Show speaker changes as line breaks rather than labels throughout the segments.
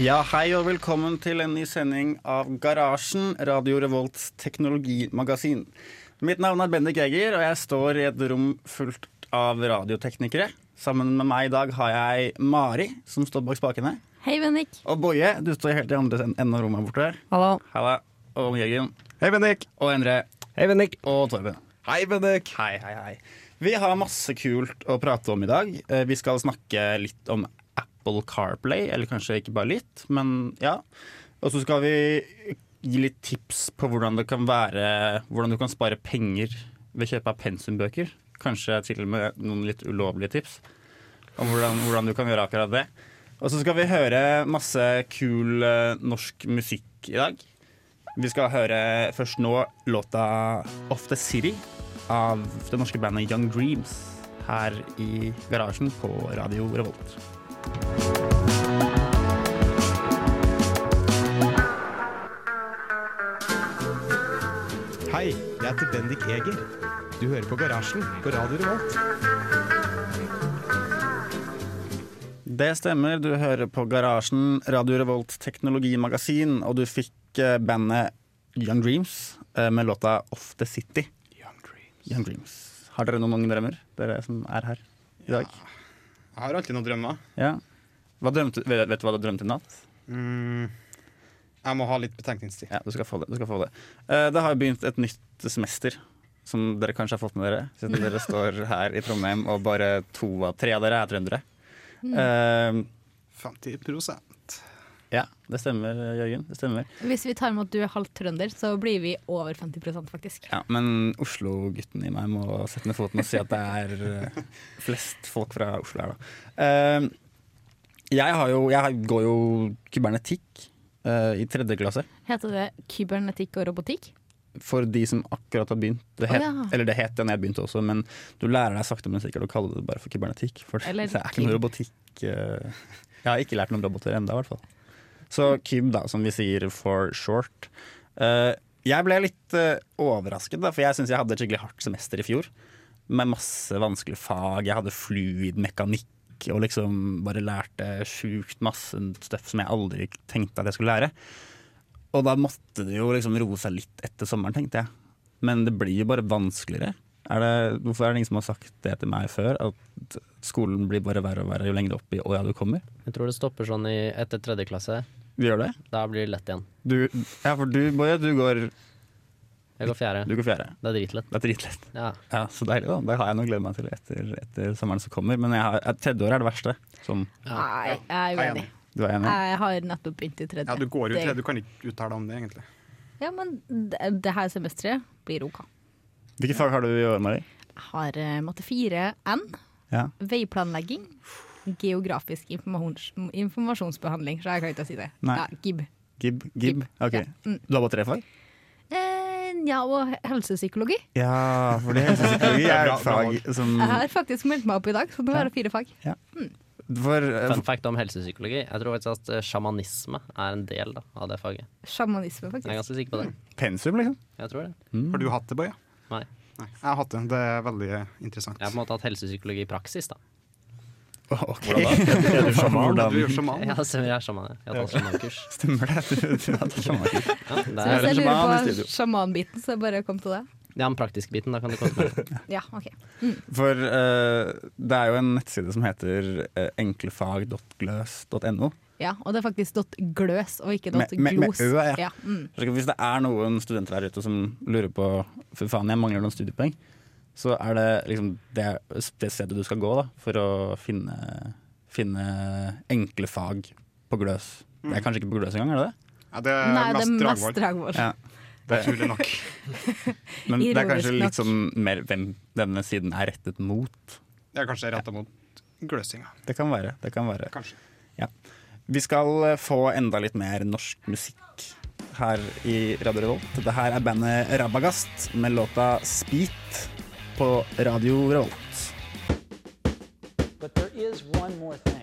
Ja, hei og velkommen til en ny sending av Garasjen, Radio Revolts teknologimagasin. Mitt navn er Bendik Eger, og jeg står i et rom fullt av radioteknikere. Sammen med meg i dag har jeg Mari, som står bak spakene.
Hei, Bendik.
Og Boje, du står helt i andre enden av rommet borte.
Hallo.
Halla. Og Jørgen.
Hei, Bendik.
Og Endre.
Hei, Bendik.
Og Torben.
Hei, Bendik.
Hei, hei, hei. Vi har masse kult å prate om i dag. Eh, Vi skal snakke litt om Apple CarPlay, eller kanskje ikke bare litt, men ja. Og så skal vi gi litt tips på hvordan, det kan være, hvordan du kan spare penger ved kjøp av pensumbøker. Kanskje til og med noen litt ulovlige tips om hvordan, hvordan du kan gjøre akkurat det. Og så skal vi høre masse kul eh, norsk musikk i dag. Vi skal høre først nå låta Off The City av det norske bandet Young Dreams her i garasjen på Radio Revolt.
Hei, jeg heter Bendik Eger. Du hører på Garasjen på Radio Revolt.
Det stemmer, du hører på Garasjen, Radio Revolt teknologimagasin, og du fikk eh, bandet Young Dreams eh, med låta Off The City. Young Dreams. Har dere noen mange drømmer, dere som er her i dag?
Jeg har alltid noen drømmer.
Ja. Hva drømte, vet, vet du hva du drømte i natt?
Mm. Jeg må ha litt betenkningstid.
Ja, du skal få det. Du skal få det. Eh, det har jo begynt et nytt semester, som dere kanskje har fått med dere. Siden dere står her i Trondheim, og bare to av tre av dere er trøndere. Eh,
50
ja, det stemmer, Jørgen. Det stemmer.
Hvis vi tar med at du er halvt trønder, så blir vi over 50 faktisk.
Ja, men Oslo-gutten i meg må sette ned foten og si at det er eh, flest folk fra Oslo her, da. Eh, jeg, har jo, jeg har- går jo kybernetikk eh, i tredje klasse.
Heter det kybernetikk og robotikk?
for de som akkurat har begynt. Det
Å,
het,
ja.
Eller det het det når jeg begynte også, men du lærer deg sakte, men sikkert å kalle det bare for kybernetikk. For
Eller
det er ikke noe
kyb.
robotikk eh, Jeg har ikke lært noen roboter ennå, i hvert fall. Så kyb, da, som vi sier for short. Eh, jeg ble litt eh, overrasket, da, for jeg syns jeg hadde et skikkelig hardt semester i fjor. Med masse vanskelige fag. Jeg hadde fluidmekanikk og liksom bare lærte sjukt masse støff som jeg aldri tenkte at jeg skulle lære. Og da måtte det jo liksom roe seg litt etter sommeren, tenkte jeg. Men det blir jo bare vanskeligere. Er det, hvorfor er det ingen som har sagt det til meg før? At skolen blir bare verre og verre jo lenger opp i åra du kommer?
Jeg tror det stopper sånn i, etter tredje klasse.
Du gjør det?
Da blir det lett igjen.
Du, ja, for du, Boje, du går,
Jeg går fjerde.
du går fjerde.
Det er dritlett.
Det er dritlett.
Ja.
Ja, Så deilig, da. Det har jeg noe å glede meg til etter, etter sommeren som kommer. Men jeg har, eh, tredje år er det verste. Sånn,
Nei, jeg er
Hei,
uenig.
du er enig?
Jeg har nettopp begynt i tredje.
Ja, du går jo
Det-
til det. Du kan ikke uttale deg om det, egentlig.
Ja, men det, det her semesteret blir OK.
Hvilke fag har du i år, Mari?
Jeg har eh, matte 4 N,
Ja.
veiplanlegging, geografisk informasjons informasjonsbehandling, så jeg kan ikke si det.
Nei.
Ja, GIB.
Gib? Gib? Ok.
Ja. Mm.
Du har bare tre fag?
Eh, ja, og helsepsykologi.
Ja, fordi helsepsykologi
er
er
bra-
et
bra
fag som
Mm.
Jeg har faktisk meldt meg opp i dag, så nå er det fire fag.
For, eh,
Fun fact om helsepsykologi. Jeg tror faktisk at eh, sjamanisme er en del da, av det faget.
Sjamanisme,
Jeg er
faktisk.
ganske sikker på det.
pensum, liksom.
Jeg tror det.
Har du hatt det, Boje?
Nei.
Nei. Jeg har hatt det. Det er veldig interessant.
Jeg har på en måte hatt helsepsykologi i praksis, da.
Hvordan da? Er du sjaman?
Du er jo sjaman.
Ja, stemmer, jeg er sjaman. Jeg har tatt sjamankurs.
Stemmer det? Du, du hadde sjaman.
Ja, det
Så
er,
hvis jeg
sjaman i
lurer
studio.
på sjamanbiten, så bare kom til det.
ja, den praktiske biten, da kan du komme med.
Ja, ok.
For eh, det er jo en nettside som heter eh, enklefag.gløs.no.
Ja, og det er faktisk dot gløs og ikke
Med-
dot
med- med
glos.
ø, ja.
mm.
Så Hvis det er noen studenter der ute som lurer på For faen, jeg mangler noen studiepoeng, så er det liksom det, det stedet du skal gå da, for å finne, finne enkle fag på Gløs. Det er kanskje ikke på Gløs engang, er det det?
Ja, det er
Nei, det er
mest
mest
dragvoll.
dragvoll.
Ja. Det,
Naturlig nok.
men det er kanskje
Ironisk
litt
nok.
sånn mer hvem denne siden er rettet mot.
Jeg er kanskje retta mot gløsinga.
Det kan være. Det kan være.
Kanskje.
Vi skal eh, få enda litt mer norsk musikk. her i Radio Revolt. Dette her er bandet Rabagast med låta Speed på Radio Revolt.
But there is one more thing.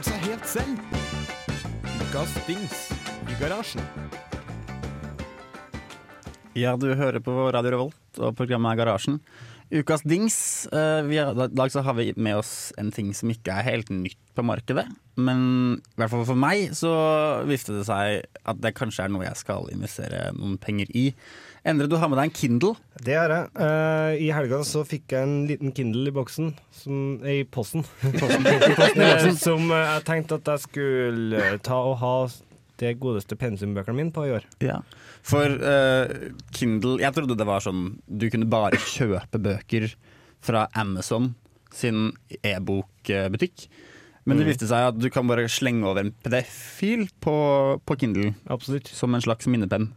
sånn eh,
Ja, du hører på Radio Revolt, og programmet er Garasjen. Ukas dings. eh, vi har, I dag så har vi med oss en ting som ikke er helt nytt på markedet. Men i hvert fall for meg så viftet det seg at det kanskje er noe jeg skal investere noen penger i. Endre, du har med deg en Kindle.
Det er jeg. Eh, I helga så fikk jeg en liten Kindle i boksen, som, eh, i posten, Eh, som eh, jeg tenkte at jeg skulle eh, ta og ha det godeste pensumbøkene mine på i år.
Ja. For eh, Kindle Jeg trodde det var sånn du kunne bare kjøpe bøker fra Amazon sin e-bokbutikk. Men det viste seg at du kan bare slenge over en PDF-fil på, på Kindle
Absolutt.
som en slags minnepenn.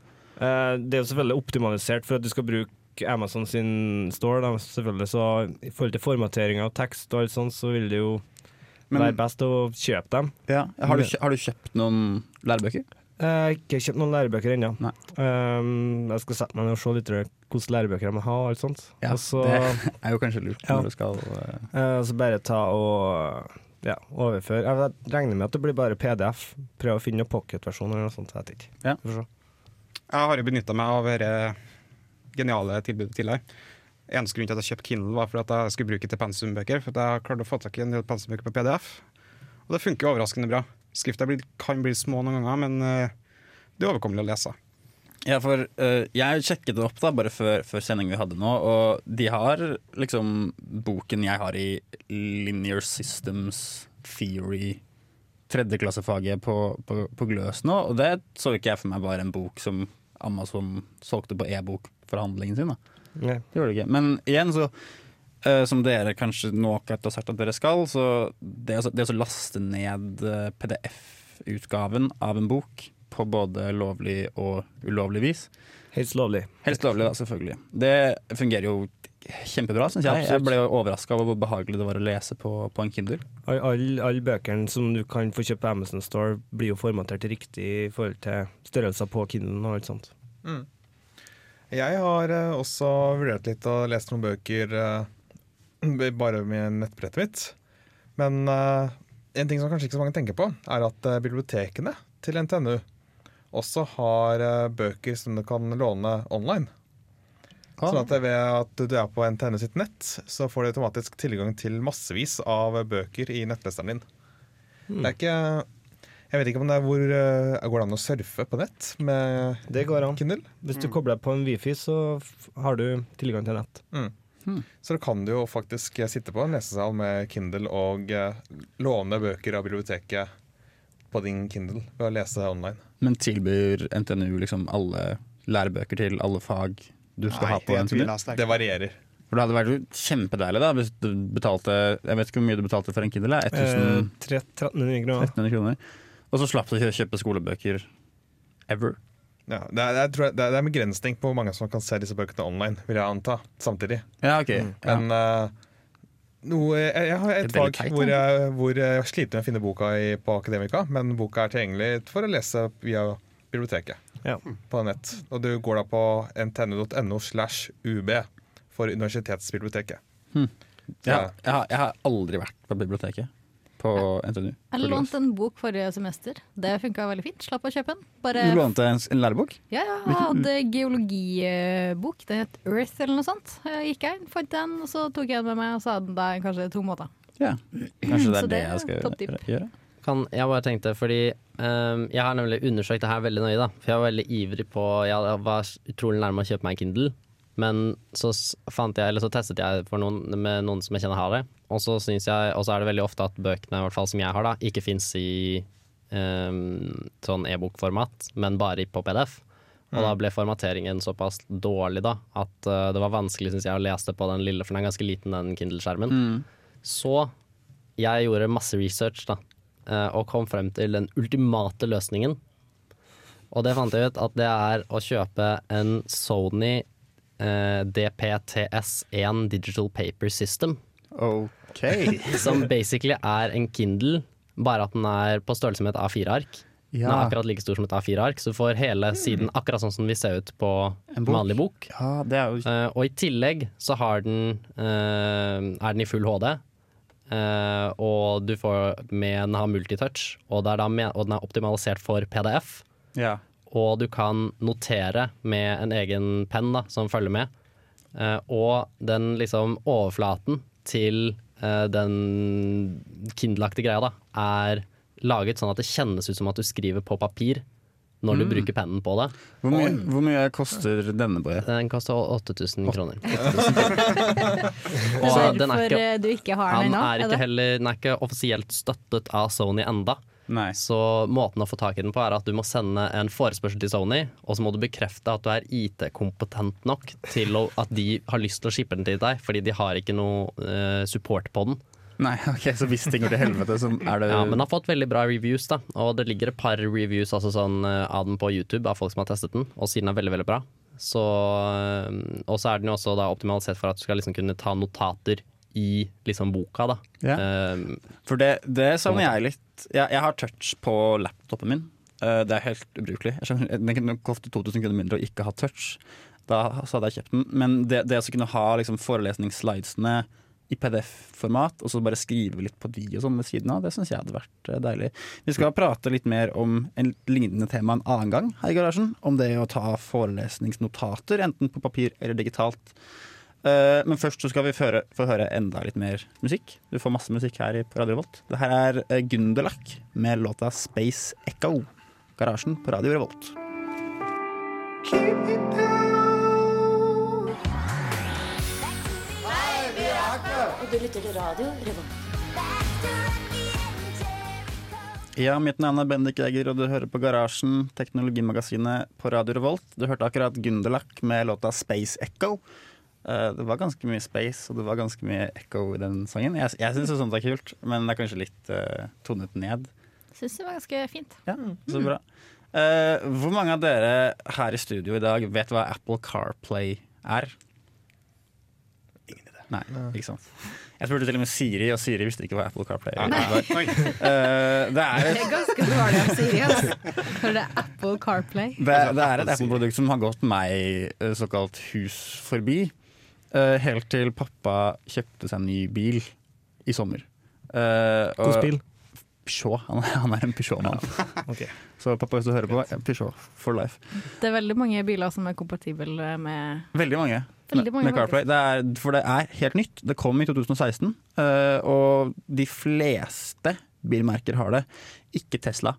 Eh, Det er jo selvfølgelig optimalisert for at du skal bruke Amazon sin store, da, selvfølgelig, så i forhold til formatering av tekst og alt sånt, så vil det jo
Men-
være best å kjøpe dem.
Ja. Har, du, kjø- har du kjøpt noen lærebøker?
Jeg har ikke kjøpt noen lærebøker ennå.
Nei.
Um, jeg skal sette meg ned og se litt hvilke lærebøker de har, og alt sånt. og så,
Det er jo kanskje lurt
Ja.
når du skal eh,
eh, så bare ta og ja, overføre. Jeg regner med at det blir bare PDF. Prøv å finne noen pocketversjon eller noe sånt. Jeg vet ikke.
Ja.
Vi får se.
Jeg har jo benytta meg av dette geniale tilbudet til deg. Eneste grunn til at jeg kjøpte Kindle, var for at jeg skulle bruke det til pensumbøker. For at jeg klarte å få tak i en del pensumbøker på PDF, og det funker jo overraskende bra. Skrifta blir- kan bli små noen ganger, men eh, det er overkommelig å lese.
Ja, for eh, jeg sjekket det opp da, bare før, før sendingen vi hadde nå, og de har liksom boken jeg har i Linear Systems Theory, tredjeklassefaget på, på, på Gløs nå, og det så ikke jeg for meg var en bok som Amazon solgte på e-bokforhandlingen sin. da.
Nei.
Det gjorde det ikke. Men igjen, så eh, som dere kanskje nå akkurat har sagt at dere skal, så det å så- det å så laste ned eh, PDF-utgaven av en bok på både lovlig og ulovlig vis
Helt lovlig.
Helst lovlig, da, selvfølgelig. Det fungerer jo kjempebra, syns jeg. Jeg
Absolutt.
ble overraska over hvor behagelig det var å lese på, på en Kindle.
Alle all, all bøkene som du kan få kjøpt på Amazon Store, blir jo formatert riktig i forhold til størrelser på Kindlen og alt sånt.
Jeg har eh, også vurdert litt og lest noen bøker eh, bare med nettbrettet mitt. Men eh, en ting som kanskje ikke så mange tenker på, er at eh, bibliotekene til NTNU også har eh, bøker som du kan låne online.
Ah.
Sånn at ved at du er på NTNU sitt nett, så får du automatisk tilgang til massevis av bøker i nettleseren din. Det
Hmm.
er ikke Jeg vet ikke om det er hvor eh, Går det an å surfe på nett med
Det går an.
Kindle?
Hvis du kobler deg på en wifi, så f- har du tilgang til nett.
Så da kan du jo faktisk eh, sitte på en lesesal med Kindle og eh, låne bøker av biblioteket på din Kindle ved å lese online.
Men tilbyr NTNU liksom alle lærebøker til alle fag du skal ha på
jeg
en
tviler
Kindle?
jeg sterkt.
Det varierer.
For det hadde vært jo kjempedeilig da hvis du betalte Jeg vet ikke hvor mye du betalte for en Kindle. ja, 1000
Eh, tre- 1300 kroner.
1300 kroner. Og så slapp du å kjøpe skolebøker ever.
Ja, det, er, jeg tror, det er en begrensning på hvor mange som kan se disse bøkene online, vil jeg anta, samtidig.
Ja, ok. Ja.
Men eh, noe, jeg, jeg har
Det
et
er veldig
fag
teit,
hvor jeg, hvor jeg sliter med å finne boka i, på Akademika, men boka er tilgjengelig for å lese via biblioteket
Ja.
på nett. Og du går da på ntnu.no slash ub for universitetsbiblioteket.
Jeg, har- jeg, har, jeg har aldri vært på biblioteket på NTNU.
Jeg lånte en bok forrige semester. Det funka veldig fint. Slapp å kjøpe den. Bare
Du lånte en, en lærebok?
Ja, ja, jeg hadde geologibok. Det het Earth eller noe sånt. Jeg gikk jeg inn, fant den, og så tok jeg den med meg, og så hadde den der i kanskje to måneder.
Ja. Kanskje det
Så
er det
det er
jeg skal
topp tip.
gjøre?
Kan, jeg bare tenkte, fordi ehm, jeg har nemlig undersøkt det her veldig nøye, da. For jeg var veldig ivrig på Jeg var utrolig nærme å kjøpe meg en Kindle. Men så, s- fant jeg, eller så testet jeg for noen, med noen som jeg kjenner har det. Og så synes jeg, og så er det veldig ofte at bøkene i hvert fall som jeg har, da, ikke fins i ehm, sånn e-bokformat, men bare i- på PDF. Og da ble formateringen såpass dårlig da, at eh, det var vanskelig synes jeg, å lese det på den lille, for den er ganske liten, den Kindle-skjermen. Så jeg gjorde masse research da, eh, og kom frem til den ultimate løsningen. Og det fant jeg ut at det er å kjøpe en Sony eh, eh, DPTS1 Digital Paper System.
OK.
Som basically er en Kindle, bare at den er på størrelse med et A4-ark. Den er
Ja. Hmm.
akkurat like stor som et A4-ark, så du får hele siden akkurat sånn som vi ser ut på
En
en
bok.
vanlig bok.
ja, det er jo
Eh, og i tillegg så har den, eh, er den i full HD. eh, og du får med den har multitouch, og, det er da med, og den er optimalisert for PDF.
Ja.
Og du kan notere med en egen penn da, som følger med. Eh, og den liksom overflaten til eh, den Kindle-aktige greia da, er laget sånn at det kjennes ut som at du skriver på papir når du bruker pennen på det.
Hvor, mye, hvor mye koster denne, Boje?
Den koster 8000 kroner. og den er
Derfor
ikke,
eh, du ikke har den
han
ennå?
er
er det?
ikke heller den er ikke offisielt støttet av Sony enda.
Nei.
Så måten å få tak i den på er at du må sende en forespørsel til Sony, og så må du bekrefte at du er IT-kompetent nok til å, at de har lyst til å shippe den til deg, fordi de har ikke noe eh, support på den.
Nei, ok, Så hvis ting går til helvete, så er det
Ja, men den har fått veldig bra reviews, da. Og det ligger et par reviews altså sånn, eh, av den på YouTube av folk som har testet den, og siden er veldig, veldig bra. Så, eh, og så er den jo også da optimalisert for at du skal liksom kunne ta notater i liksom boka, da.
Ja.
Eh,
For det, det savner jeg litt. Jeg, jeg har touch på laptopen min. Eh, det er helt ubrukelig. Jeg skjønner, Den kunne koste 2000 kroner mindre å ikke ha touch. Da så hadde jeg kjøpt den. Men det, det å så kunne ha liksom, forelesningsslidesene i PDF-format, og så bare skrive litt på de og sånn ved siden av, det syns jeg hadde vært eh, deilig. Vi skal prate litt mer om en lignende tema en annen gang her i garasjen. Om det å ta forelesningsnotater, enten på papir eller digitalt. Eh, men først så skal vi føre, få høre enda litt mer musikk. Du får masse musikk her i- på Radio Revolt. Det her er eh, Gunderlach med låta 'Space Echo'. Garasjen på Radio Revolt.
Og du lytter til radio Revolt.
Ja, mitt navn er Bendik Eger, og du hører på Garasjen, teknologimagasinet på Radio Revolt. Du hørte akkurat Gunderlach med låta 'Space Echo'. Eh, det var ganske mye space, og det var ganske mye echo i den sangen. Jeg, jeg syns sånt er kult, men det er kanskje litt eh, tonet ned.
Syns det var ganske fint.
Ja, så bra. Eh, hvor mange av dere her i studio i dag vet hva Apple CarPlay er? Ingen idé. Nei, ikke sant. Jeg spurte til og med Siri, og Siri visste ikke hva Apple CarPlay var. Eh, det, er et,
Det er ganske dårlig av Siri, altså. For det er Apple CarPlay.
det, det er et Apple-produkt som har gått meg eh, såkalt hus forbi, eh, helt til pappa kjøpte seg en ny bil i sommer. Uh,
God spill.
Peugeot. Han, han er en Peugeot-mann.
Ok.
Så pappa, hvis du hører på, Peugeot for life.
Det er veldig mange biler som er kompatible med
Veldig mange.
Veldig mange,
med CarPlay. Det er, for det er helt nytt. Det kom i 2016, eh, og de fleste bilmerker har det. Ikke Tesla.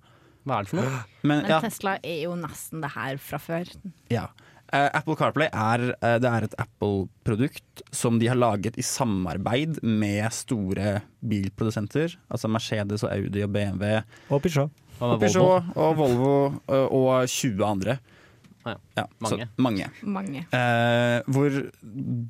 hva er det for noe?
Men,
Men
ja,
Tesla er jo nesten det her fra før.
ja. Eh, Apple CarPlay er, eh, det er et Apple-produkt som de har laget i samarbeid med store bilprodusenter. Altså Mercedes og Audi og BMW.
Og Peugeot.
Hva med Volvo?
Peugeot og Volvo eh, og 20 andre.
Ah, ja.
mange.
Mange.
Så, mange.
Mange.
Eh, hvor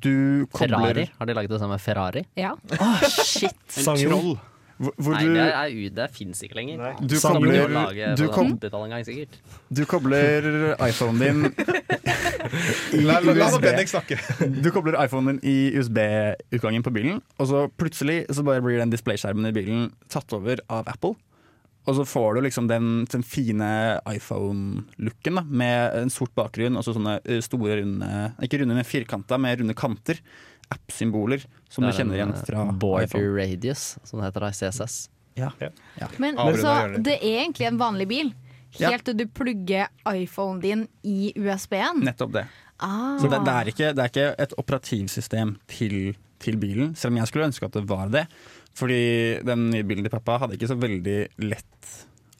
du kobler
Ferrari? Har de laget det samme Ferrari?
Ja.
Sangen.
Hvor, hvor
Nei,
du,
det, er, u- det fins ikke lenger.
Du
Som
kobler-
å lage sånn.
du
på
kom-
80-tallet en gang, sikkert.
Du kobler iPhonen din i
La, la, la nå
USB.
Bendik snakke.
Du kobler iPhonen din i USB-utgangen på bilen, og så plutselig så bare blir den displayskjermen i bilen tatt over av Apple. Og så får du liksom den, den fine iPhone-looken da, med en sort bakgrunn og så sånne eh, store runde Ikke runde, men firkanta med runde kanter. App-symboler som du
Det er
kjenner
en,
igjen fra
eh, Border
iPhone.
Radius, som det heter da, i CSS.
Ja.
Men
Avrunda
så,
gjør det.
det er egentlig en vanlig bil.
Ja.
Helt til du plugger iPhonen din i USB-en.
Nettopp det.
Sånn. Ah.
Så det, det, er ikke, det er ikke et operativsystem til, til bilen, selv om jeg skulle ønske at det var det. Fordi den nye bilen til pappa hadde ikke så veldig lett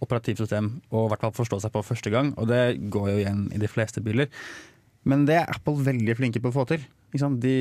operativsystem å i hvert fall forstå seg på første gang, og det går jo igjen i de fleste biler. Men det er Apple veldig flinke på å få til. Ikke sant? De,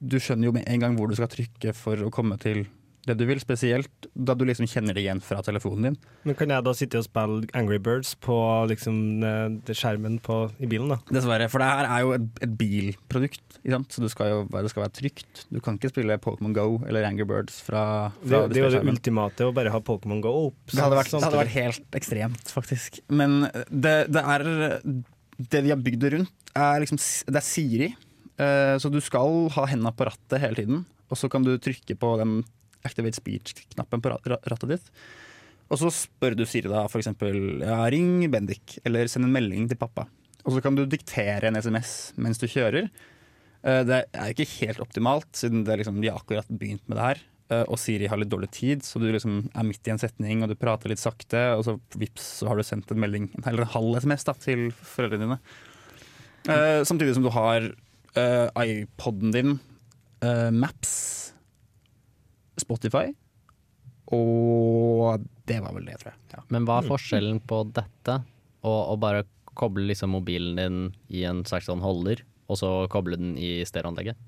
du skjønner jo med en gang hvor du skal trykke for å komme til det du vil, spesielt da du liksom kjenner det igjen fra telefonen din.
Men kan jeg da sitte og spille Angry Birds på liksom, eh, det skjermen på, i bilen, da?
Dessverre, for det her er jo et, et bilprodukt. Ikke sant? Så du skal jo være- det skal være trygt. Du kan ikke spille Pokémon Go eller Angry Birds fra,
Det,
fra
det er jo det
displayskjermen.
ultimate å bare ha Pokémon Go sånn opp.
Det hadde, vært,
sam-
det hadde vært helt ekstremt, faktisk. Men det, det er Det de har bygd det rundt, er liksom s- Det er Siri. Eh, Så du skal ha hendene på rattet hele tiden, og så kan du trykke på den activate speech-knappen på ra- ra- rattet ditt. Og så spør du Siri da f.eks.: ja, Ring Bendik, eller send en melding til pappa. Og så kan du diktere en SMS mens du kjører. Eh, Det er ikke helt optimalt, siden det er liksom, de har akkurat begynt med det her. eh, Og Siri har litt dårlig tid, så du liksom er midt i en setning og du prater litt sakte, og så vips, så har du sendt en melding, eller en halv SMS da, til foreldrene dine. Eh, Samtidig som du har eh, iPoden din, eh, Maps, Spotify, og det var vel det, tror jeg. Ja.
Men hva er forskjellen på dette og å bare koble liksom mobilen din i en slags sånn holder, og så koble den i stereoanlegget?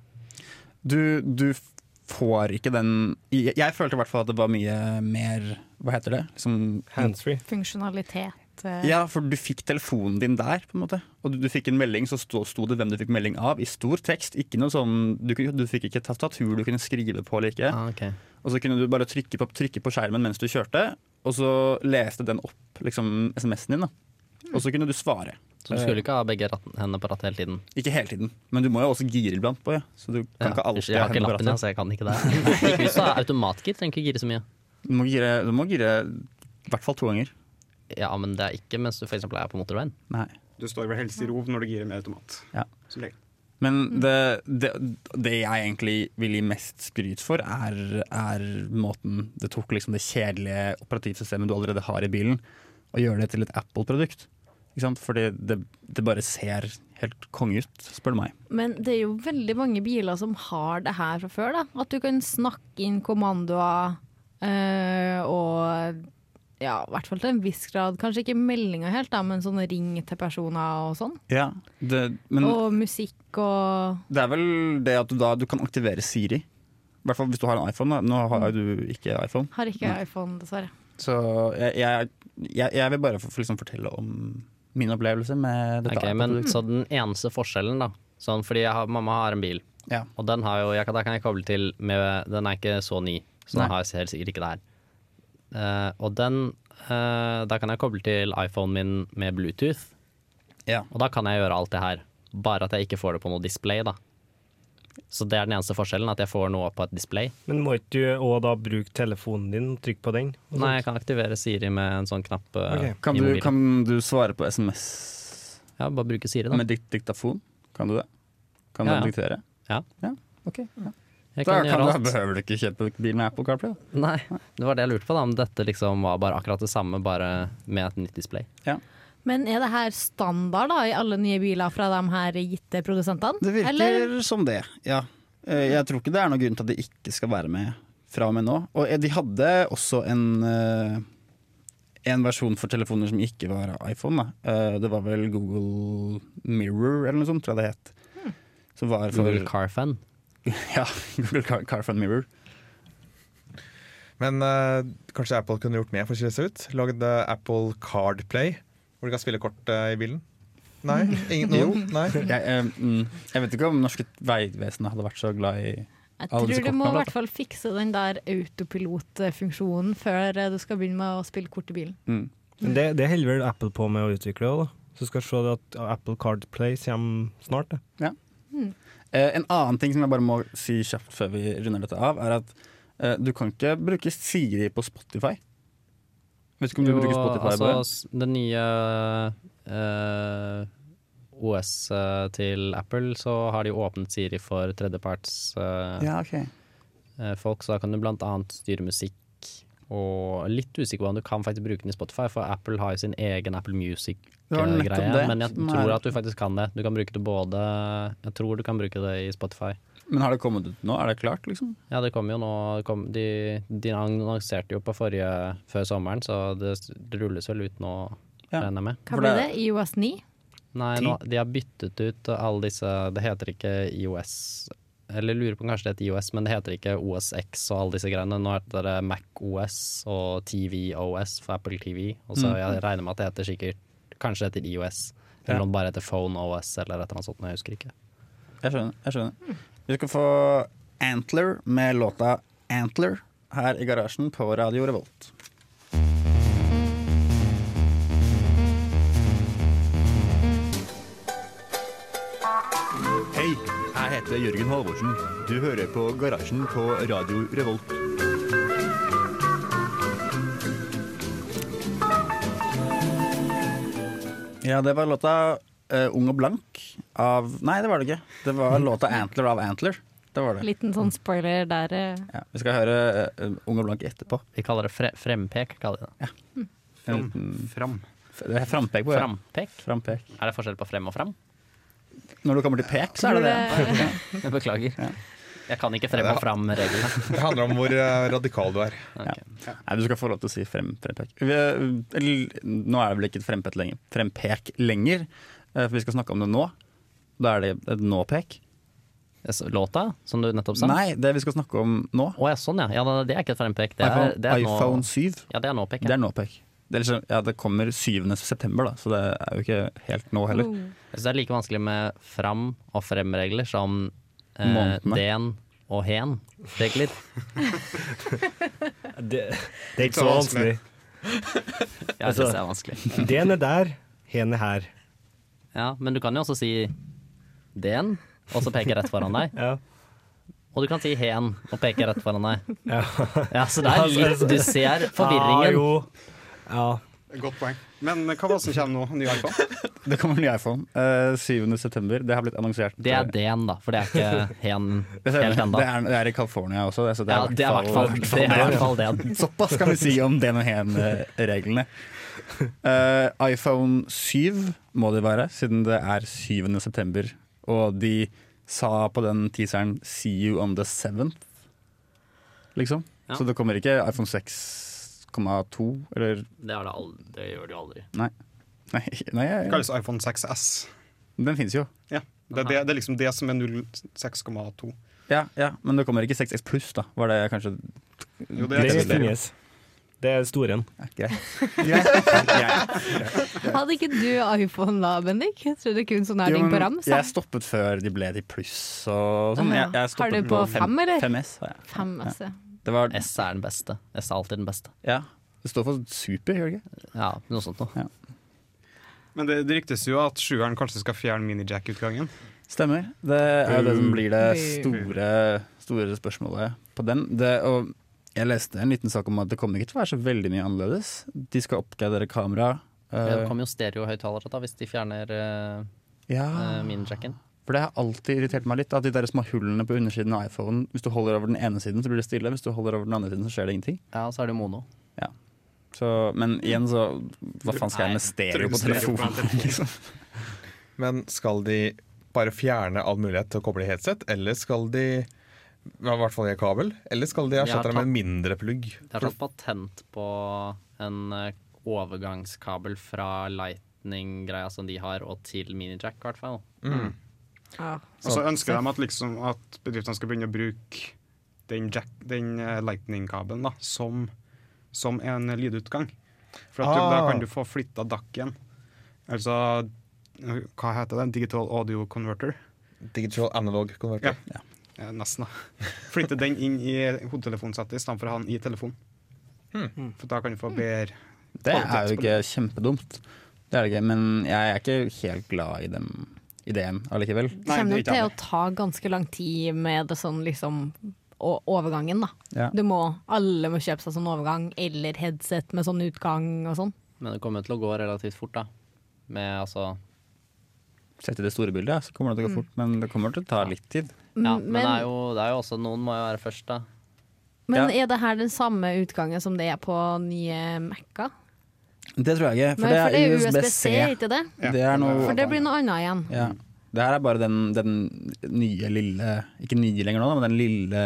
Du, du f- får ikke den jeg, jeg følte i hvert fall at det var mye mer Hva heter det? Liksom,
Handsfree.
Funksjonalitet. eh,
ja, for du fikk telefonen din der, på en måte. Og du, du fikk en melding, så sto, sto det hvem du fikk melding av, i stor tekst. Ikke noe sånn, du, kunne- du fikk ikke tastatur du kunne skrive på eller ikke.
Ah, ok.
Og så kunne du bare trykke på, trykke på skjermen mens du kjørte, og så leste den opp liksom, SMS-en din. Da. Og så kunne du svare.
Så du skulle ikke ha begge ratt- hendene på rattet hele tiden?
Ikke hele tiden, men du må jo også gire iblant på, ja. Så du kan ikke alltid
jeg
ha
har ikke
hendene på
lappen,
rattet.
altså. ja, så jeg kan ikke det. Hvis du har automatgir, trenger ikke gire så mye.
Du må gire, du må gire i hvert fall to ganger.
Ja, men det er ikke mens du for eksempel er på motorveien.
Nei.
Du står vel helst i ro når du girer med automat.
Ja.
Som regel.
Men det, det, det jeg egentlig vil gi mest skryt for, er, er måten det tok liksom det kjedelige operativsystemet du allerede har i bilen, og gjøre det til et Apple-produkt. Ikke sant? Fordi det, det bare ser helt konge ut, spør du meg.
Men det er jo veldig mange biler som har det her fra før. da At du kan snakke inn kommandoer eh, og ja, i hvert fall til en viss grad. Kanskje ikke meldinger helt, da, men sånn ring til personer og sånn.
Ja, det, men
og musikk og
det er vel det at du da du kan aktivere Siri. I hvert fall hvis du har en iPhone. Da. Nå har jo du ikke iPhone.
Har ikke
Nei.
iPhone, dessverre.
Så jeg, jeg, jeg, jeg vil bare få liksom fortelle om min opplevelse med dette.
Ok, men Så den eneste forskjellen, da sånn, Fordi jeg har, mamma har en bil,
Ja.
og den har jo, jeg, kan- da kan jeg koble til med Den er ikke så ny,
Nei.
så den har jeg helt sikkert ikke det her. Eh, og den eh, Da kan jeg koble til iPhonen min med Bluetooth,
Ja.
og da kan jeg gjøre alt det her. Bare at jeg ikke får det på noe display, da. Så det er den eneste forskjellen, at jeg får noe på et display.
Men må ikke du òg da bruke telefonen din, trykke på den? og sånt?
Nei, jeg kan aktivere Siri med en sånn knapp eh,
Kan,
i
du,
mobilen.
kan du svare på SMS
Ja, bare bruke Siri, da.
med dikt diktafon? Kan du det? Kan
Ja, ja.
du diktere?
Ja.
ok. Ja.
Jeg
Da
kan
kan
gjøre
du,
alt.
behøver du ikke kjøpe bil med Apple CarPlay. da.
Nei, det var det jeg lurte på, da. Om dette liksom var bare akkurat det samme, bare med et nytt display.
Men er det her standard da i alle nye biler fra de her gitte produsentene?
Det virker
Eller
som det, ja. Eh, Jeg tror ikke det er noen grunn til at det ikke skal være med fra og med nå. Og eh, de hadde også en eh, en versjon for telefoner som ikke var iPhone. Da. Eh, Det var vel Google Mirror eller noe sånt, tror jeg det het. Som var for
Hmm. Google Carfan.
ja, Google Car, Carphone Mirror.
Men eh, kanskje Apple kunne gjort mer for å skille seg ut? Lagd eh, Apple Card Play, hvor du kan spille kort eh, i bilen? Nei? Ingen,
Jo.
noen? Nei?
Jeg, eh, mm, jeg vet ikke om norske Vegvesenet hadde vært så glad i
jeg
alle
tror
disse
du må
kortene,
i
da.
hvert fall fikse den der autopilotfunksjonen før eh, du skal begynne med å spille kort i bilen.
mm.
Men det, det holder vel Apple på med å utvikle òg, da. Så skal vi se det at Apple Card Play kommer snart. Det.
Eh, En annen ting som jeg bare må si kjapt før vi runder dette av, er at eh, du kan ikke bruke Siri på Spotify. Vet ikke om du bruker Spotify
altså,
på det?
s- den nye eh, OS eh, til Apple, så har de jo åpnet Siri for tredjepartsfolk,
Ja, ok.
så da kan du blant annet styre musikk. Og litt usikker på om du kan faktisk bruke den i Spotify, for Apple har jo sin egen Apple
Det var nettopp
Music-greie.
det
Men jeg
som er-
tror at du faktisk kan det. Du kan bruke det både Jeg tror du kan bruke det i Spotify.
Men har det kommet ut nå? Er det klart, liksom?
Ja, det kom jo nå det kom, de, de annonserte jo på forrige før sommeren, så det, det rulles vel ut nå,
Ja.
regner jeg med.
Hva
For
ble det?
det-
IOS 9?
Nei, nå, de har byttet ut alle disse Det heter ikke IOS Eller lurer på om kanskje det heter IOS, men det heter ikke OSX og alle disse greiene. Nå heter det MacOS og TVOS for Apple TV, og
Mm.
så jeg regner med at det heter sikkert Kanskje det heter IOS, eller
Ja.
om det bare heter Phone OS eller et eller annet sånt, jeg husker ikke.
Jeg skjønner. jeg skjønner. Vi skal få Antler med låta 'Antler' her i garasjen på Radio Revolt.
Hei,
Jeg heter Jørgen Halvorsen. Du hører på Garasjen på Radio Revolt.
Ja, det var låta eh, Ung og blank av Nei, det var det ikke. Det var låta Antler av Antler. Det var det.
Liten sånn spoiler der. eh.
Ja, vi skal høre eh, Ung og blank etterpå.
Vi kaller det fre frempek. Kaller vi det.
En
Fram.
liten
Fram.
det er frampek på, ja.
Frampek?
Frampek.
Er det forskjell på frem og fram?
Når du kommer til pek, så er det det.
Jeg beklager. Jeg kan ikke frem og fram-reglene.
Det handler om hvor eh, radikal du er.
Nei, du skal få lov til å si frem, frempek. Vi, eller, nå er det vel ikke et frempek lenger, frempek lenger, eh, for vi skal snakke om det nå. Da er det et nå-pek.
Låta, som du nettopp sa?
Nei, det vi skal snakke om nå,
Å ja, sånn ja. ja. da- Det er ikke et frempek. Det er,
iPhone,
det er nå-
iPhone 7,
Ja, det er nå-pek.
det
Ja.
er nå-pek. Det, er liksom, ja, det kommer 7. september, da, så det er jo ikke helt nå heller.
Oh.
Jeg synes det er like vanskelig med fram- og fremregler som eh,
Månedene.
den og hen-regler.
Det, det er ikke så vanskelig.
Jeg synes det er vanskelig.
Den er der, hen er her.
Ja, men du kan jo også si den, og så peke rett foran deg.
Ja.
Og du kan si hen og peke rett foran deg.
Ja.
Ja, Så Ah, det er litt Du ser
Ja,
forvirringen.
Ah, jo. Ja.
Godt poeng. Men hva var det som kommer nå? Ny iPhone?
Det kommer en ny iPhone eh, 7. september. Det har blitt annonsert. eh,
Det er den, da, for det er ikke hen
Det er,
helt ennå.
det er, det er i California også. så det
Ja,
er
det er i hvert fall det. Er i hvert fall det.
Såpass kan vi si om den og hen-reglene. Eh, iPhone 7 må det være, siden det er 7. september. Og de sa på den teaseren 'see you on the 7th', liksom.
Ja.
Så det kommer ikke iPhone 6,2 eller
Det, er det, aldri, det gjør du aldri.
Nei, nei
Det kalles iPhone 6S.
den fins jo.
Ja. Det, er det, det er liksom det som er 06,2.
Ja, ja, men det kommer ikke 6X pluss, da. Var det kanskje
Jo, det
Det
er
finnes. Det er storen.
Hadde ikke du iPhone da, Bendik? Jeg trodde kun sånn er
Jo,
ting
men
på rams. da.
Jeg stoppet før de ble til pluss og sånn. Jeg, jeg
Har du
stoppet
på
fem-
fem, eller?
5S har jeg.
Fem, altså.
Det var
S er den beste. S er alltid den beste.
Ja. Det står for super, gjør det ikke?
Ja, noe sånt noe.
Men det, det ryktes jo at sjueren kanskje skal fjerne minijack-utgangen.
Stemmer. Det er jo det som blir det
Boo.
store, store spørsmålet på den. Det, og jeg leste en liten sak om at det kommer ikke til å være så veldig mye annerledes. De skal oppgradere kamera.
Ja,
eh,
Det kommer jo stereohøyttalere da, hvis de fjerner uh,
ja,
minijacken.
for det har alltid irritert meg litt. At de der små hullene på undersiden av iPhonen Hvis du holder over den ene siden, så blir det stille. Hvis du holder over den andre siden, så skjer det ingenting.
Ja, så er det jo mono.
Så, men igjen, så Hva faen skal jeg med stereo på telefonen? Liksom?
Men skal de bare fjerne all mulighet til å koble i headset, eller skal de ja, i hvert fall i kabel, eller skal de
har
erstatte det med en mindre plugg?
De har tatt patent på en eh, overgangskabel fra lightning-greia som de har, og til minijack, i hvert fall.
Ja.
Og så ønsker de at, liksom, at bedriftene skal begynne å bruke den, jack- den eh, lightning-kabelen da, som, som en lydutgang. For at du, da
Ah.
kan du få flytta DAC-en. Altså eh, hva heter det? Digital Audio Converter?
Digital analog konverter.
Eh, nesten, da. Flytte den inn i hodetelefonsettet istedenfor å ha den i telefonen.
Hmm.
For da kan du få bedre
Det er jo ikke kjempedumt. Det er det ikke, men jeg er ikke helt glad i den ideen allikevel.
Kommer
det er
nok
ikke
til å
alle.
ta ganske lang tid med det sånn liksom å- overgangen, da.
Ja.
Du må, alle må kjøpe seg sånn overgang, eller headset med sånn utgang og sånn.
Men det kommer til å gå relativt fort, da. Med altså
Sett i det store bildet, ja, så kommer det til å gå fort, men det kommer til å ta litt tid.
Ja,
Mm,
men, det, er jo, det er jo også Noen må jo være først, da.
men er det her den samme utgangen som det er på nye Mac-er?
Det tror jeg ikke, for
Men
det er
USB-C,
USBC.
ikke det?
Det er noe
For det blir noe annet igjen.
ja. Det her er bare den, den nye lille Ikke nye lenger nå, da, men den lille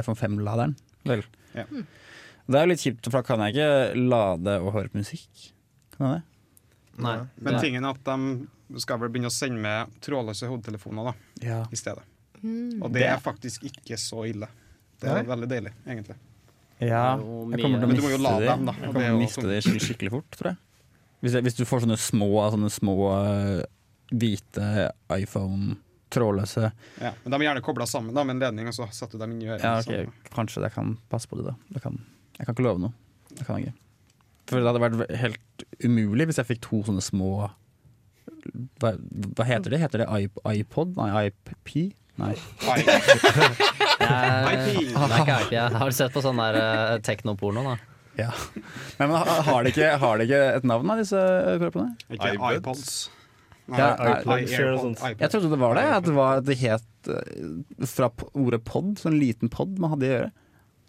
iPhone 5-laderen. Vel.
Ja.
Det er jo litt kjipt, for da kan jeg ikke lade og høre på musikk. Kan jeg det?
Nei.
Men
det-
tingen er at de skal vel begynne å sende med trådløse hodetelefoner da,
Ja.
i stedet. Og det er faktisk ikke så ille. Det er veldig deilig, egentlig.
Ja,
Det er jo
jeg kommer
mye-
til å
Men
du må jo
miste
lade
de.
dem, da,
Jeg
og det
kommer
er
til å
jo
miste de skikkelig, skikkelig fort, tror jeg. Hvis, jeg. hvis du får sånne små, sånne små eh, hvite iPhone-trådløse
Ja. Men de er gjerne kobla sammen da, med en ledning, og så setter du dem inn i øret.
Ja, ok,
sånn.
kanskje jeg kan passe på de, da. Jeg kan, jeg kan ikke love noe. Det kan jeg ikke. For det hadde vært ve- helt umulig hvis jeg fikk to sånne små hva, hva heter de? Heter det iP- iPod? Nei, IP? Nei.
Jeg, nei, ikke IP. Jeg har sett på sånn der eh, teknoporno, da.
Ja. Nei, men ha- har de ikke, har de ikke et navn av disse kroppene?
Ikke
iPods.
Nei,
Ja,
iPod,
nei,
iPod,
sånt.
iPod.
Jeg trodde det var det. At det, var, at det het eh, fra p- ordet pod, sånn liten pod man hadde i øret.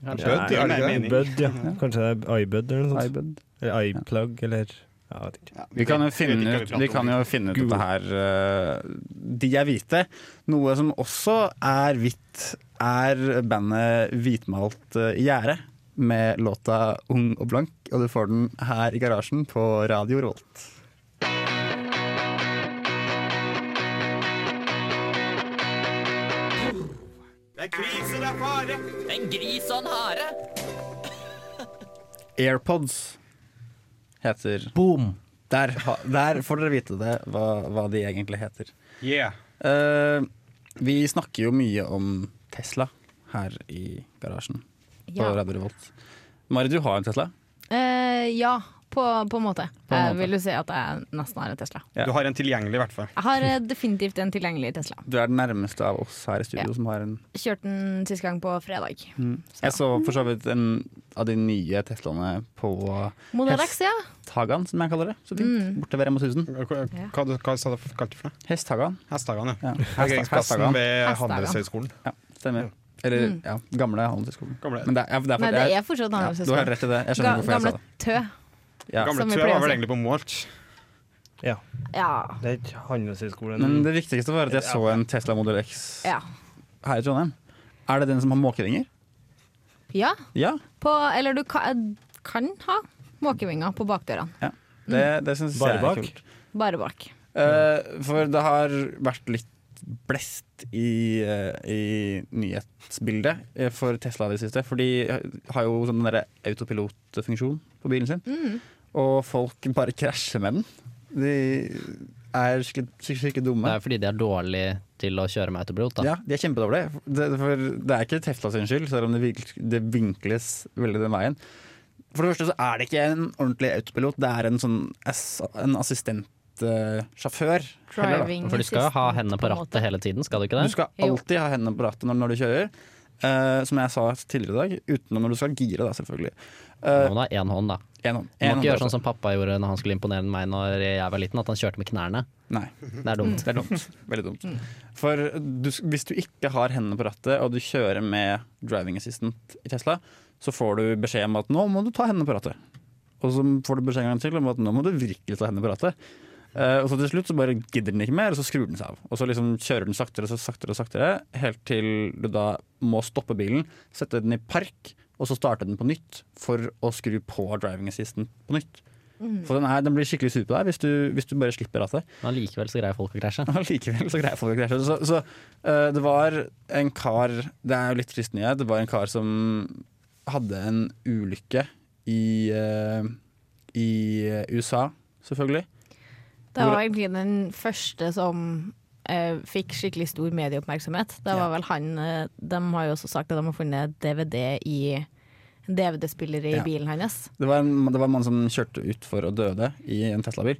Kanskje.
Bød,
det
er
er
det
mer
ikke det?
mening.
Bud, ja. Kanskje det er iBud eller noe sånt.
iPod.
Eller iPlug eller ja, jeg vet ikke.
Ja,
Vi kan jo
det- det
finne
kan
ut,
prate
vi
om.
kan jo finne ut dette her eh, De er hvite. Noe som også er hvitt, er bandet Hvitmalt eh, gjerde med låta 'Ung og blank'. Og du får den her i garasjen på Radio Rolt. AirPods heter
Boom!
Der, ha- der får dere vite det, hva, hva de egentlig heter.
Yeah.
Eh, vi snakker jo mye om Tesla her i garasjen på
Ja.
Radio Revolt. Mari, du har en Tesla.
Eh, ja, på, på en måte.
På en
Jeg
måte.
vil jo si at jeg nesten har en Tesla.
Ja.
Du har en tilgjengelig, i hvert fall.
Jeg har eh, definitivt en tilgjengelig Tesla.
Du er den nærmeste av oss her i studio
Ja. Mm,
som har en.
Kjørte den sist gang på fredag.
Jeg så for så vidt en av de nye Teslaene på
Model X, ja.
Hesthagan, som jeg kaller det. Så fint.
Mm.
Borte ved Rema 1000.
Hva, hva,
Ja.
hva, du- hva sa du kalte du for det?
Hesthagan.
Hesthagene, ja.
Ja.
Parkeringsplassen
Hesthagan.
ved
Hesthagen.
Handelshøyskolen.
Ja, stemmer. Eller ja, gamle Handelshøyskolen.
Gamle.
Men det er, ja, det er
Mm. Nei,
for-
det
jeg-
er fortsatt
ja,
Handelshøyskolen.
Du har rett i det. Jeg skjønner
Ga-
hvorfor jeg sa
gamle
det.
Tø.
Ja.
Gamle
Som vi
Tø
pleier å
var vel
si.
egentlig på Malt.
Ja.
Det er ikke handelshøyskolen.
Men
Mm.
det viktigste var at jeg så en Tesla Model X
ja.
her i Trondheim. Er det den som har måkeringer?
Ja.
Ja.
På, eller du kan, kan ha måkevinger på bakdørene.
Det, det syns jeg
Bare
er
bak?
kult.
Bare bak.
Eh, for det har vært litt blest i, eh, i nyhetsbildet eh, for Tesla i det siste. For de har jo sånn derre autopilotfunksjon på bilen sin. Og folk bare krasjer med den. De er skikkelig, skikkelig, skikkelig dumme.
Det er fordi de er dårlige til å kjøre med autopilot, da.
Ja, de er kjempedårlige. Det, for det er ikke Tesla sin skyld, selv om det, virk- det vinkles veldig den veien. For det første så er det ikke en ordentlig autopilot, det er en sånn ass- en assistentsjåfør.
Driving
For du skal jo ha
assistant,
hendene på
en måte.
rattet hele tiden, skal du ikke
Du
det?
skal
Jo.
alltid ha hendene på rattet når, når du kjører. Eh, som jeg sa tidligere i dag, utenom når du skal gire, da, selvfølgelig.
Du
Eh,
må ha én hånd, da.
en hånd. en hånd
Du må ikke
på
gjøre sånn
rattet.
som pappa gjorde når han skulle imponere meg når jeg var liten, at han kjørte med knærne.
Nei.
Det er dumt.
Det er dumt. Veldig dumt. For du, hvis du ikke har hendene på rattet, og du kjører med driving assistant i Tesla, så får du beskjed om at nå må du ta hendene på rattet. Og så får du beskjed en gang til om at nå må du virkelig ta hendene på rattet. Eh, og så til slutt så bare gidder den ikke mer, og så skrur den seg av. Og så liksom kjører den saktere og saktere og saktere, helt til du da må stoppe bilen, sette den i park, og så starte den på nytt for å skru på driving assistant på nytt. Så den, er, den blir skikkelig sur på deg hvis du, hvis du bare slipper rattet.
Men likevel så greier folk å krasje.
Og likevel så greier folk å krasje. Så, så eh, det var en kar Det er jo litt trist nyhet. Det var en kar som hadde en ulykke i, eh, i eh, USA, selvfølgelig.
Det var egentlig den første som eh, fikk skikkelig stor medieoppmerksomhet. Det var
Ja.
vel han eh, De har jo også sagt at de har funnet DVD i en DVD-spiller i
Ja.
bilen hans.
Det var en, det var en mann som kjørte utfor og døde i en Tesla-bil.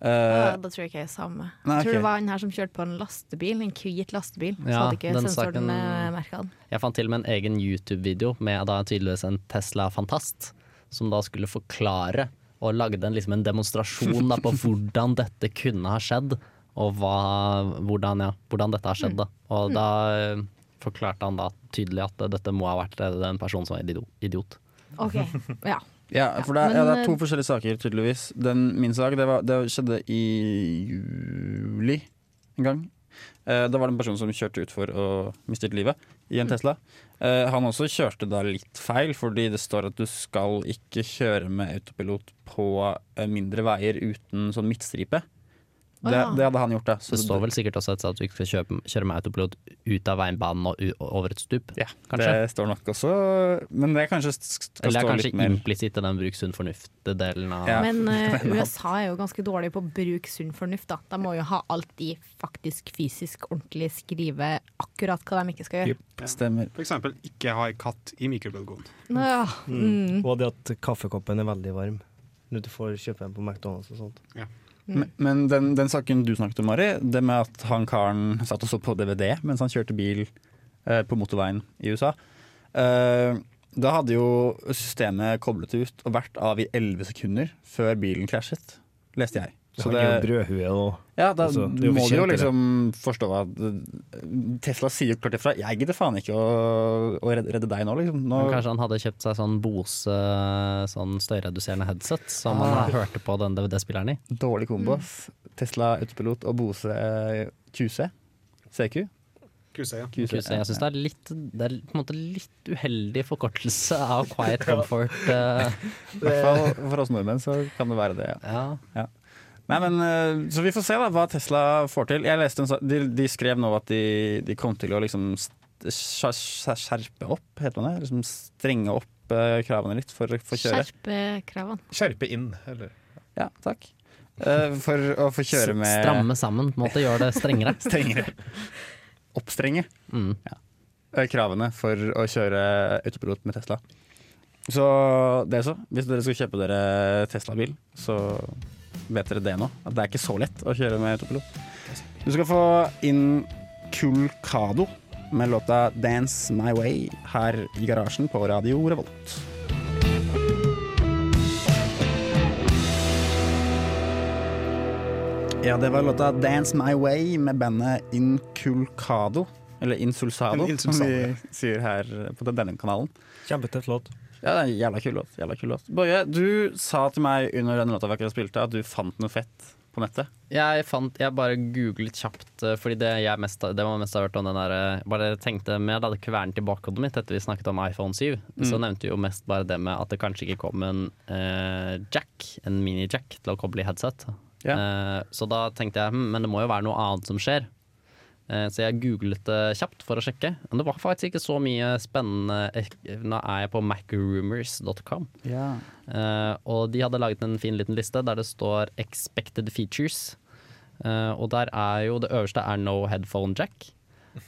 Eh,
Ja, da tror jeg ikke jeg er samme.
Nei,
Jeg tror
ok.
det var han her som kjørte på en lastebil, en hvit lastebil. så
Ja,
hadde ikke
den
sensoren
saken-
eh, merket den.
Jeg fant til og med en egen YouTube-video med da tydeligvis en Tesla-fantast, som da skulle forklare og lagde en, liksom en demonstrasjon da, på hvordan dette kunne ha skjedd, og hva, hvordan, ja, hvordan dette har skjedd. Da. Og da eh, forklarte han da tydelig at dette må ha vært en person som var idio- idiot.
OK. Ja.
ja, for det, er-
Ja,
ja,
men,
det er to
eh,
forskjellige saker, tydeligvis. Den, min sak det, var, det skjedde i juli en gang. Eh, da var det en person som kjørte utfor og mistet livet i
Mm.
en Tesla. Eh, han også kjørte da litt feil, fordi det står at du skal ikke kjøre med autopilot på eh, mindre veier uten sånn midtstripe.
Å
Det,
ja.
det hadde han gjort, da.
Det står vel sikkert også et sted at du ikke skal kjøpe, kjøre med autopilot ut av veibanen og u over et stup.
ja, det
kanskje?
står nok også, men det er kanskje sk- skal
Eller det er
stå
kanskje
litt mer
implisitt i den bruk sunn fornuft-delen av
Ja.
Men eh, USA er jo ganske dårlig på å bruke sunn fornuft. Da. De må jo ha alt de faktisk fysisk ordentlig skriver akkurat hva de ikke skal gjøre.
Stemmer.
For eksempel ikke ha en katt i mikrobølgeovnen.
Ja.
Mm.
Mm.
Og det at kaffekoppen er veldig varm. Når du får kjøpe den på McDonald's og sånt.
Men, men den, den saken du snakket om, Mari, det med at han karen satt og så på DVD mens han kjørte bil eh, på motorveien i USA eh, Da hadde jo systemet koblet det ut og vært av i 11 sekunder før bilen krasjet, leste jeg.
Så det er jo brødhue og
Ja, da
altså, det er jo
må du jo
kjent, det.
liksom forstå at eh, Tesla sier jo klart ifra. Jeg gidder faen ikke å, å redde, redde deg nå, liksom. Nå,
Men kanskje han hadde kjøpt seg sånn Bose sånn støyreduserende headset som
Ah.
han hørte på den DVD-spilleren i.
Dårlig kombo. ass. Tesla autopilot og Bose eh, QC. CQ.
Kuse, ja.
QC,
Huset. Jeg syns det er litt Det er på en måte litt uheldig forkortelse av Quiet Comfort. eh,
I hvert fall for oss nordmenn så kan det være det. ja.
ja.
Eh, Nei, men, eh, så vi får se da, hva Tesla får til. Jeg leste en, sa- de, de skrev nå at de, de kom til å liksom st- skjer- skjer- skjerpe opp, heter man det? Liksom strenge opp eh, kravene litt for, for å kjøre.
Skjerpe kravene.
Skjerpe inn, eller
Ja, takk. Eh, for å få kjøre med
Stramme sammen, på en måte gjøre det strengere.
strengere. Oppstrenge
Mm.
eh, kravene for å kjøre autopilot med Tesla. Så det så. Hvis dere skal kjøpe dere Tesla-bil, så vet dere det nå. At det er ikke så lett å kjøre med autopilot. Du skal få inn Kulkado med låta 'Dance My Way' her i garasjen på Radio Revolt. Ja, det var låta 'Dance My Way' med bandet Inculcado. Eller Insulsado,
In-
som vi
Insulsado.
sier her på denne kanalen.
Kjempetøff låt.
Ja, det er en jævla kul låt. Jævla kul låt. Boje, du sa til meg under den låta vi akkurat spilte, at du fant noe fett på nettet.
Jeg fant, jeg bare googlet kjapt, eh, fordi det jeg mest, det man mest har hørt om den der eh, Bare tenkte mer da det kvernet i bakhodet mitt etter vi snakket om iPhone 7. Så nevnte vi jo mest bare det med at det kanskje ikke kom en eh, jack, en mini-jack, til å koble i headset. Eh, så da tenkte jeg hm, men det må jo være noe annet som skjer. Eh, så jeg googlet det kjapt for å sjekke. Men det var faktisk ikke så mye spennende. ek- Nå er jeg på macrumors.com.
Ja.
Eh, og de hadde laget en fin liten liste der det står 'expected features'. Eh, og der er jo det øverste er 'no headphone jack'.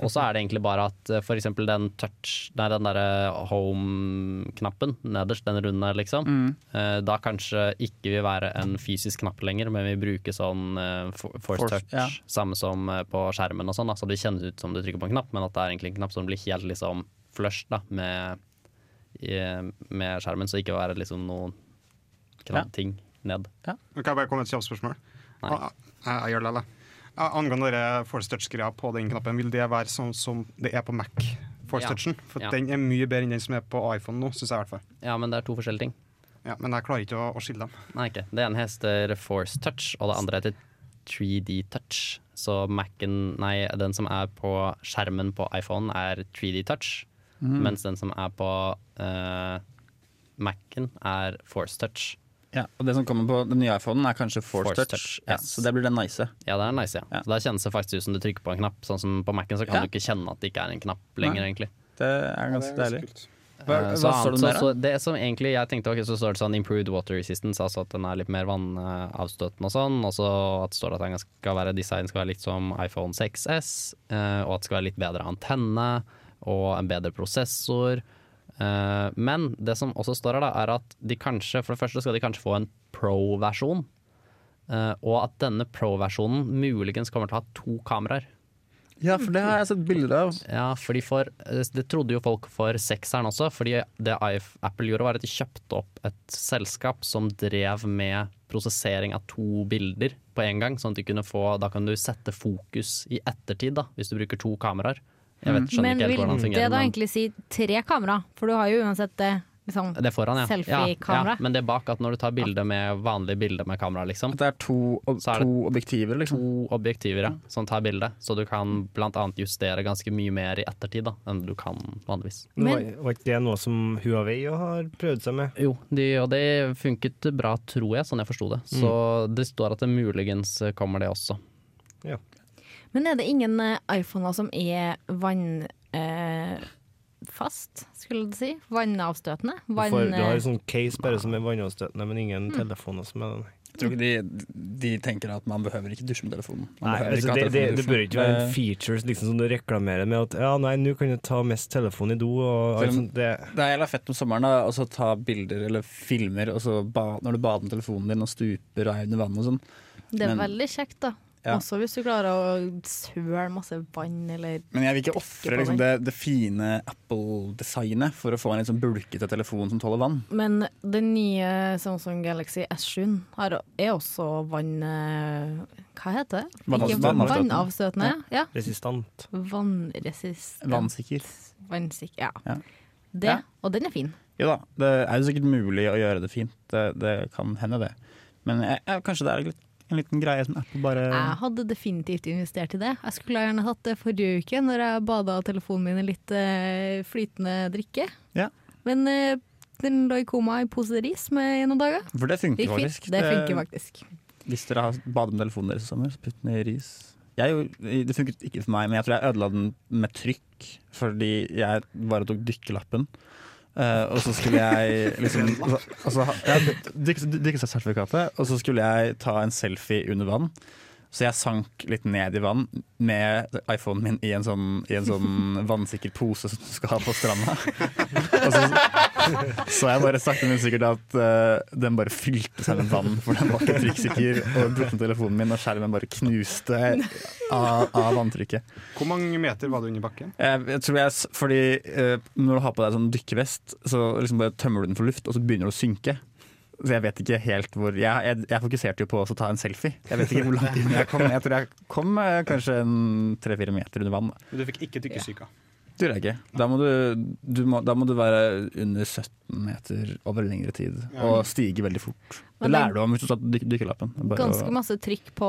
Og så er det egentlig bare at eh, for eksempel den touch, nei, den derre home-knappen nederst, den runde, liksom, eh, da kanskje ikke vil være en fysisk knapp lenger, men vi bruker sånn eh, for- force,
Force,
touch,
ja.
samme som eh, på skjermen og sånn, da, så det kjennes ut som du trykker på en knapp, men at det er egentlig en knapp som blir helt liksom flush da, med, i, med skjermen, så ikke være liksom noen
Ja.
knapp ting ned.
Men Kan jeg bare komme med et kjapt spørsmål?
Nei.
Ah, ah, Jeg gjør det, da. Ah, Angående dere force touch-greia på den knappen, vil det være sånn som det er på Mac? Force
Ja.
touchen? For
Ja.
den er mye bedre enn den som er på iPhone nå, syns jeg i hvert fall.
Ja, men det er to forskjellige ting.
Ja, men jeg klarer ikke å, å skille dem.
Nei, ikke. Det ene heter Force Touch, og det andre heter 3D Touch. Så Mac-en, nei, den som er på skjermen på iPhone er 3D Touch,
Mhm.
mens den som er på eh, Mac-en er Force Touch.
ja. Og det som kommer på den nye iPhonen, er kanskje Force,
Force
Touch.
Touch,
Ja,
yes.
så det blir den nice.
Ja, det er nice, ja.
Ja.
Så Der kjennes det faktisk ut som du trykker på en knapp. Sånn som på Mac-en så kan
Ja.
du ikke kjenne at det ikke er en knapp lenger, egentlig.
Det er ganske deilig. Hva,
Eh, så
hva står
annet-
det
så,
der,
så
da?
det som egentlig jeg tenkte ok, Så står det sånn improved water resistance, altså at den er litt mer vannavstøtende og sånn. Og så at det står det at den skal være design skal være litt som iPhone 6S, eh, og at det skal være litt bedre antenne og en bedre prosessor. Eh, Men det som også står her, da, er at de kanskje For det første skal de kanskje få en pro-versjon. eh, Og at denne pro-versjonen muligens kommer til å ha to kameraer.
Ja, for det har jeg sett bilder av.
Ja, fordi for, eh, det trodde jo folk for sekseren også, fordi det iF- Apple gjorde var at de kjøpte opp et selskap som drev med prosessering av to bilder på en gang, sånn at de kunne få, da kan du sette fokus i ettertid da, hvis du bruker to kameraer. Jeg vet, skjønner
Mm. Men
ikke helt
vil
hvordan det
det da
fungerer, men
egentlig si tre kamera? For du har jo uansett det liksom,
det er foran, ja. ja,
selfie-kamera.
ja. Men det er bak at når du tar bilder med vanlige bilder med kamera, liksom,
At det er to, ob
Så er det-
to objektiver, liksom.
to objektiver ja, som tar bildet, så du kan blant annet justere ganske mye mer i ettertid da, enn du kan vanligvis.
Men-
Var- Var ikke det noe som Huawei jo har prøvd seg med?
Jo, de, og det funket bra, tror jeg, sånn jeg forsto det. Så det står at det muligens kommer det også.
Men er det ingen eh, iPhoner som er vannfast, eh, fast, skulle du si? Vannavstøtende?
Du,
Vann,
får, du
eh,
har
Mm.
jo sånn case bare som er vannavstøtende, men ingen telefoner som er den.
Jeg tror ikke de, de tenker at man behøver ikke dusje med telefonen. Man
Nei,
behøver
altså,
ikke ha
det, det,
telefonen i
det bør ikke
dusjen.
være en features liksom, som du reklamerer med at ja, nei, nå kan du ta mest telefon i do og
Selv om-
iPhone. Det,
Det er jævla fett om sommeren da, og så ta bilder eller filmer og så ba, når du bader med telefonen din og stuper og er under vannet og sånn.
Det er
Men-
veldig kjekt, da.
Ja.
Også hvis du klarer å søle masse vann eller
Men jeg vil ikke
Ikke på
ofre liksom, det, det fine Apple-designet for å få en litt sånn bulkete telefon som tåler vann.
Men den nye Samsung Galaxy S7 har, er også vann... eh, Hva heter det?
Vannavstøtende.
Ikke vann- Vannavstøtende, ja.
Resistant.
Vannresistent.
Vannsikker.
Vannsikker, ja.
Ja.
Det,
Ja.
og den er fin.
Jo da, det er jo sikkert mulig å gjøre det fint. Det, det kan hende, det. Men jeg, jeg, kanskje det er litt, en liten greie som Apple bare
Jeg hadde definitivt investert i det. Jeg skulle gjerne hatt det forrige uke, når jeg bada telefonen min i litt eh, flytende drikke.
Ja.
Men eh, den lå i koma i pose ris med i noen dager.
For det
Det
funker
gikk
faktisk.
fint. Det funker faktisk.
Hvis dere har badet med telefonen deres i sommer, så putt den i ris. Jeg, gjorde- det funket ikke for meg, men jeg tror jeg ødela den med trykk. Fordi jeg bare tok dykkerlappen. Eh, og så skulle jeg liksom og så, ja, dykke- Dykkesertifikatet. Og så skulle jeg ta en selfie under vann. Så jeg sank litt ned i vann med iPhonen min i en sånn, i en sånn vannsikker pose som du skal ha på stranda. Og så så jeg bare sakte, men sikkert at eh, den bare fylte seg med vann, for den var ikke trykksikker. Og brukte telefonen min, og skjermen bare knuste av, av vanntrykket.
Hvor mange meter var du under bakken?
Jeg, jeg tror jeg, s- fordi eh, Når du har på deg sånn dykkervest, så liksom bare tømmer du den for luft, og så begynner du å synke. Så jeg vet ikke helt hvor Jeg, jeg, jeg fokuserte jo på også å ta en selfie. Jeg vet ikke hvor langt inn jeg kom. Jeg tror jeg kom eh, kanskje en tre-fire meter under vann.
Men du fikk ikke dykkesyka.
Det gjorde jeg ikke. Da må du, du må, da må du være under 17 meter over lengre tid, og stige veldig fort. Det
Men det-
lærer du om hvis du tar dyk- dykkerlappen. Det er bare
Ganske
å-
masse trykk på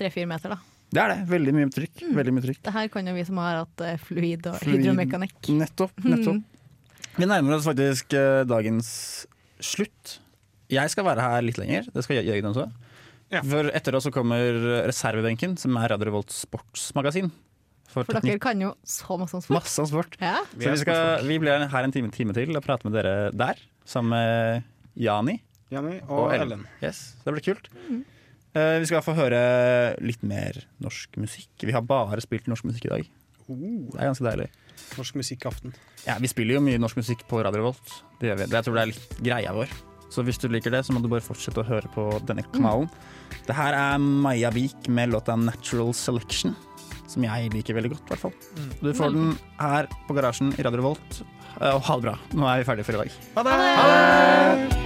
tre-fire meter, da.
Det er det. Veldig mye trykk.
Mm.
Veldig mye trykk.
Det her kan jo vi som har hatt eh, fluid og
Fluid.
hydromekanikk.
Nettopp.
Mm.
nettopp. Vi nærmer oss faktisk eh, dagens slutt. Jeg skal være her litt lenger. Det skal Jø- Jørgen også.
Ja.
For etter oss så kommer reservebenken, som er Radio Revolts sportsmagasin. For,
For dere
teknikk.
kan jo så masse om sport.
Masse om sport.
Ja.
Så vi, skal, vi blir her en time, time til og prater med dere der, sammen med Jani
Jenny og,
og Ellen.
Ellen.
Yes, det blir kult. Eh, vi skal få høre litt mer norsk musikk. Vi har bare spilt norsk musikk i dag.
Oh.
Det er ganske deilig.
Norsk musikkaften.
Ja, Vi spiller jo mye norsk musikk på Radio Revolt. Det gjør vi. Det, jeg tror det er litt greia vår. Så hvis du liker det, så må du bare fortsette å høre på denne kanalen. Det her er Maja Vik med låta 'Natural Selection', som jeg liker veldig godt, i hvert fall. Du får den her på Garasjen i Radio Revolt. Eh, Og ha det bra. Nå er vi ferdige for i dag.
Ha det!